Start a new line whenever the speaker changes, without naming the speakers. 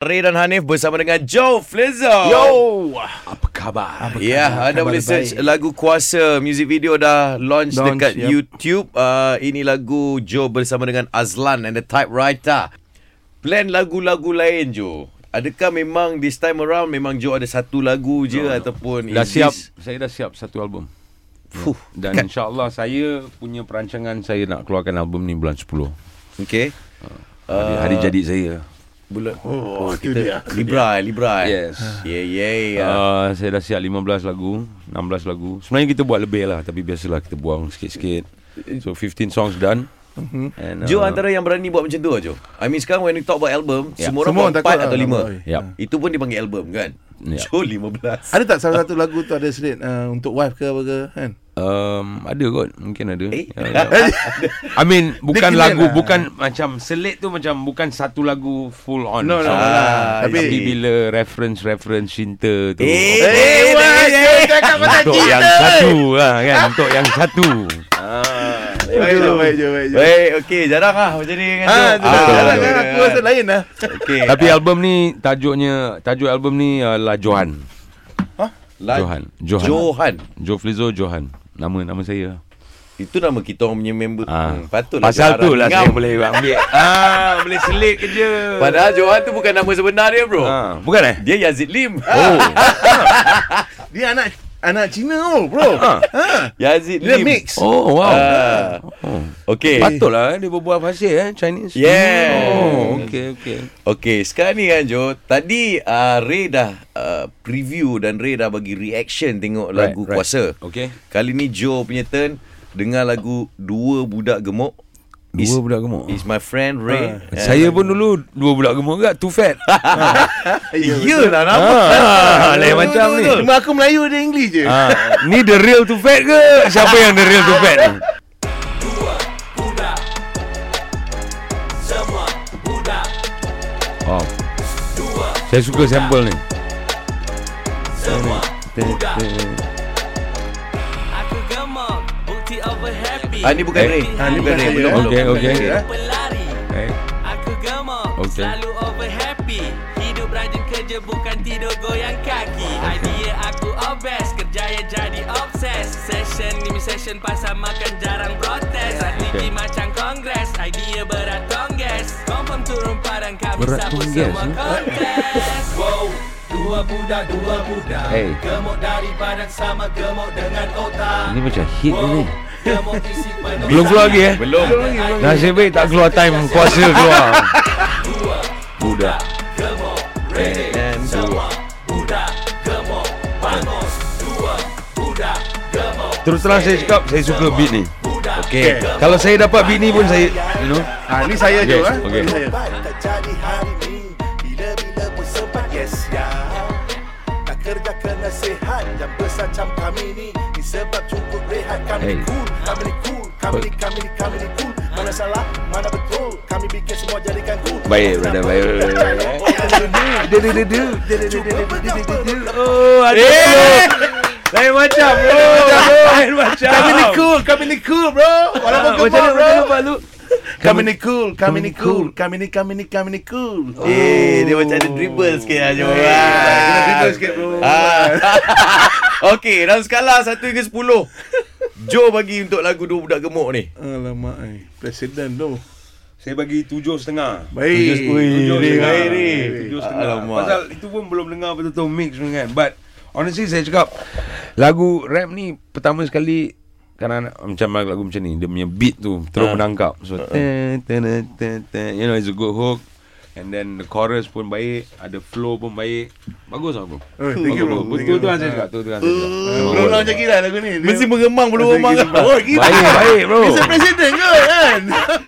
Ray dan Hanif bersama dengan Joe Flizzo.
Apa khabar? Apa khabar?
Ya, yeah, anda
Khabar
boleh search
baik.
lagu Kuasa music video dah launch,
Launch,
dekat
yep.
YouTube. Uh, ini lagu Joe bersama dengan Azlan and the Typewriter. Plan lagu-lagu lain Joe. Adakah memang this time around memang Joe ada satu lagu je no, ataupun
Dah
is
siap.
this-
Saya dah siap satu album.
Fuh,
Dan
Kan.
insyaAllah saya punya perancangan saya nak keluarkan album ni bulan 10.
Okay. Uh,
Hari, hari jadi saya.
Bulan oh, kita Libra, eh, Libra. eh.
Yes.
Yeah, yeah. yeah.
Uh, saya dah siap 15 lagu, 16 lagu. Sebenarnya kita buat lebih lah tapi biasalah kita buang sikit-sikit. So 15 songs done. And,
Mm-hmm.
uh,
Joe antara yang berani buat macam tu lah, Joe. I mean sekarang when we talk about album,
Ya.
semua orang buat
Semua orang
empat
takut
atau
lah,
lima.
ramai.
Ya.
Itu pun dipanggil album kan?
Ya.
Joe lima belas.
Ada tak salah satu lagu tu ada selit uh, untuk wife ke apa ke kan?
Um, ada kot Mungkin ada
Eh?
Ya, ya. I mean Bukan
Dia kira
lagu
lah.
Bukan macam Selit tu macam Bukan satu lagu Full on
No, no,
So,
no, no.
ah, Tapi,
Tapi-
bila Reference-reference Cinta tu
Eh,
oh,
eh, eh,
Eh,
eh,
cakap
Untuk yang satu lah, kan? Untuk yang satu
Baik je, baik je, baik je.
Baik, okey. Jarang lah macam ni dengan Joe.
Ah, tu dah
Ah,
jalan
betul.
kan aku rasa lain lah.
Okey.
Tapi album ni Tajuknya Tajuk album ni uh, La Johan
La-
Johan Johan
Johan.
Joe Flizzo Johan Nama nama saya
Itu nama kita orang punya member.
ah.
Hmm, patutlah
Pasal
Johan
tu lah
Rangam.
saya boleh ambil ah, Boleh selit kerja
Padahal Johan tu bukan nama sebenar dia, bro.
ah, Bukan eh
Dia Yazid Lim.
Oh
Dia anak anak Cina oh, bro.
Ah.
Ha.
Yazid
Dia
Lim.
mix.
Oh wow
Ah.
oh.
Okey.
Patutlah eh, dia berbual fasih eh Chinese.
Yeah.
Oh, okey okey.
Okey, sekarang ni kan Jo, tadi uh, Ray dah uh, preview dan Ray dah bagi reaction tengok
Right,
lagu
right.
Kuasa.
Okey.
Kali ni Joe punya turn dengar lagu Dua Budak Gemuk.
Dua budak gemuk.
Is my friend Ray. Uh,
Saya pun dulu dua budak gemuk juga too fat.
Iyalah lah, nama.
ah, lain
Ha? Betul,
macam
betul,
ni.
betul. Cuma aku Melayu dia English je.
Ah, ni the real too fat ke? Siapa yang the real too fat? ni? Wow. Oh. Saya suka sampel ni.
Aku gemuk Bukti over happy
Ah, ni bukan
Eh,
Ray.
ah,
ni
ni
bukan Ray.
bukan
saya.
Belum, belum.
Okey,
bukan
okey.
Ray.
Pelari
Eh,
Aku gemuk
Okey.
Selalu over happy Hidup rajin kerja Bukan tidur goyang kaki Idea aku obes Kerjaya jadi obses Session ni session Pasal makan jarang protes Strategi
Okey.
macam kongres Idea berat tongges Confirm turun padang Kami
Berat
sapu
tongges,
semua
eh?
kontes Wow Dua budak, dua budak
Hey.
Gemuk dari padang sama gemuk dengan otak
ni macam hit ni.
Belum keluar lagi eh?
Belum.
Nasib baik tak keluar time kuasa keluar. Budak.
And dua.
Terus terang saya cakap saya suka beat ni.
Okey.
Kalau saya dapat beat ni pun saya you know.
Ah, ni saya je
Okey,
ah.
okey.
Ni saya.
Sempat tak jadi hari ni Bila-bila pun sempat yes ya Tak kerja kena sihat Yang besar macam kami ni Ni sebab cukup rehat
Hey.
Kami ni cool, kami ni cool Kami ni, kami ni, kami ni cool Mana salah, mana betul Kami bikin semua jadikan cool
Baik, brother, baik.
Dia dia dia dia dia dia dia dia dia dia dia.
Oh, ada. Eh! Oh! Lain macam bro. Lain macam.
Kami ni cool, kami ni cool bro. Walaupun
Ah, Macam
gemuk
mana
bro.
macam nampak lu?
Kami ni cool, kami ni cool, kami ni kami ni kami ni cool.
Ah.
Eh, dia macam ada dribble sikit lah Joe.
eh, Kena
Ah.
dribble sikit bro.
Ah. Okey, dalam skala 1 hingga 10. Joe bagi untuk lagu Dua Budak Gemuk ni.
Alamak ai. Presiden tu.
Saya bagi tujuh setengah.
Baik.
Tujuh
Ray,
setengah.
Ray, Ray.
Tujuh setengah.
Alamak.
Pasal itu pun belum dengar betul-betul mix pun kan. But honestly saya cakap lagu rap ni pertama sekali kan macam lagu macam ni dia punya beat tu terus
Ha.
Ah.
menangkap. So ten, ten, ten, ten, ten. you know it's a good hook. And then the chorus pun baik, ada flow pun baik. Bagus lah bro.
Oh, thank you, bro.
Betul tu yang saya cakap, betul tu yang saya cakap.
Belum
Bagus.
lah macam gila lagu ni. Dia-
Mesti mengemang belum
Dia
memang.
gila.
Oh, gila.
Baik, baik bro.
Vice President ke kan?